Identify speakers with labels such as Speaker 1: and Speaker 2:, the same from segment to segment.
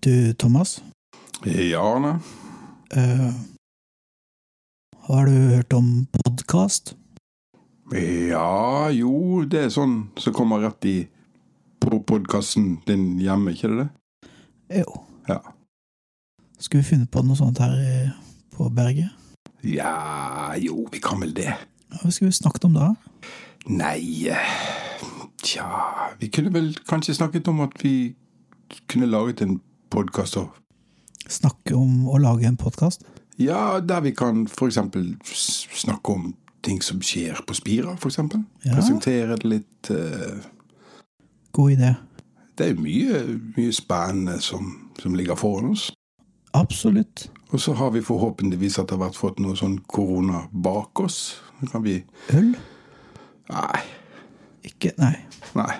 Speaker 1: Du, Thomas,
Speaker 2: Ja, Arne.
Speaker 1: eh, har du hørt om podkast?
Speaker 2: Ja, jo, det er sånn som kommer rett i på podkasten din hjemme, ikke det det?
Speaker 1: Jo.
Speaker 2: Ja.
Speaker 1: Skulle vi funnet på noe sånt her eh, på berget?
Speaker 2: Ja, jo, vi kan vel det.
Speaker 1: Ja, Hva skulle vi snakket om da?
Speaker 2: Nei, eh, tja Vi kunne vel kanskje snakket om at vi kunne laget en podkast og
Speaker 1: Snakke om å lage en podkast?
Speaker 2: Ja, der vi kan f.eks. snakke om ting som skjer på Spira, f.eks. eksempel
Speaker 1: Ja.
Speaker 2: Presentere det litt eh,
Speaker 1: God idé.
Speaker 2: Det er jo mye, mye spennende som, som ligger foran oss.
Speaker 1: Absolutt.
Speaker 2: Og så har vi forhåpentligvis etter hvert fått noe sånn korona bak oss. Nå kan vi
Speaker 1: Øl?
Speaker 2: Nei.
Speaker 1: Ikke Nei,
Speaker 2: nei.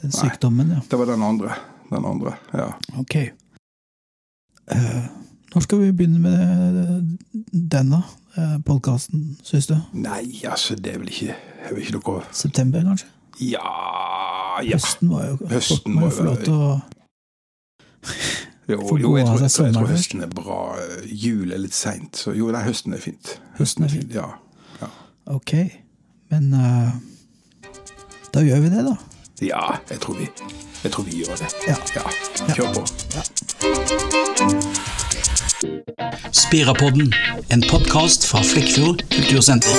Speaker 1: den
Speaker 2: Nei.
Speaker 1: sykdommen, ja.
Speaker 2: Det var den andre. Den andre, ja.
Speaker 1: Ok. Eh, når skal vi begynne med eh, denne uh, podkasten, syns du?
Speaker 2: Nei, altså, det er vel ikke Jeg vet ikke noe
Speaker 1: September, kanskje?
Speaker 2: Ja, ja.
Speaker 1: Høsten var jo Folk
Speaker 2: Høsten
Speaker 1: må
Speaker 2: var
Speaker 1: jo få lov til å
Speaker 2: Jo,
Speaker 1: får
Speaker 2: jo
Speaker 1: gå av seg
Speaker 2: jeg, tror, jeg, tror, jeg tror
Speaker 1: sommeren
Speaker 2: høsten er bra. Jul er litt seint. Så jo, nei, høsten er fint.
Speaker 1: Høsten er fin.
Speaker 2: Ja.
Speaker 1: Ok, men eh, da gjør vi det, da.
Speaker 2: ja, jeg tror vi Jeg tror vi gjør det.
Speaker 1: Ja.
Speaker 2: Ja. Kjør på.
Speaker 3: Spirapodden, en podkast fra Flekkefjord kultursenter.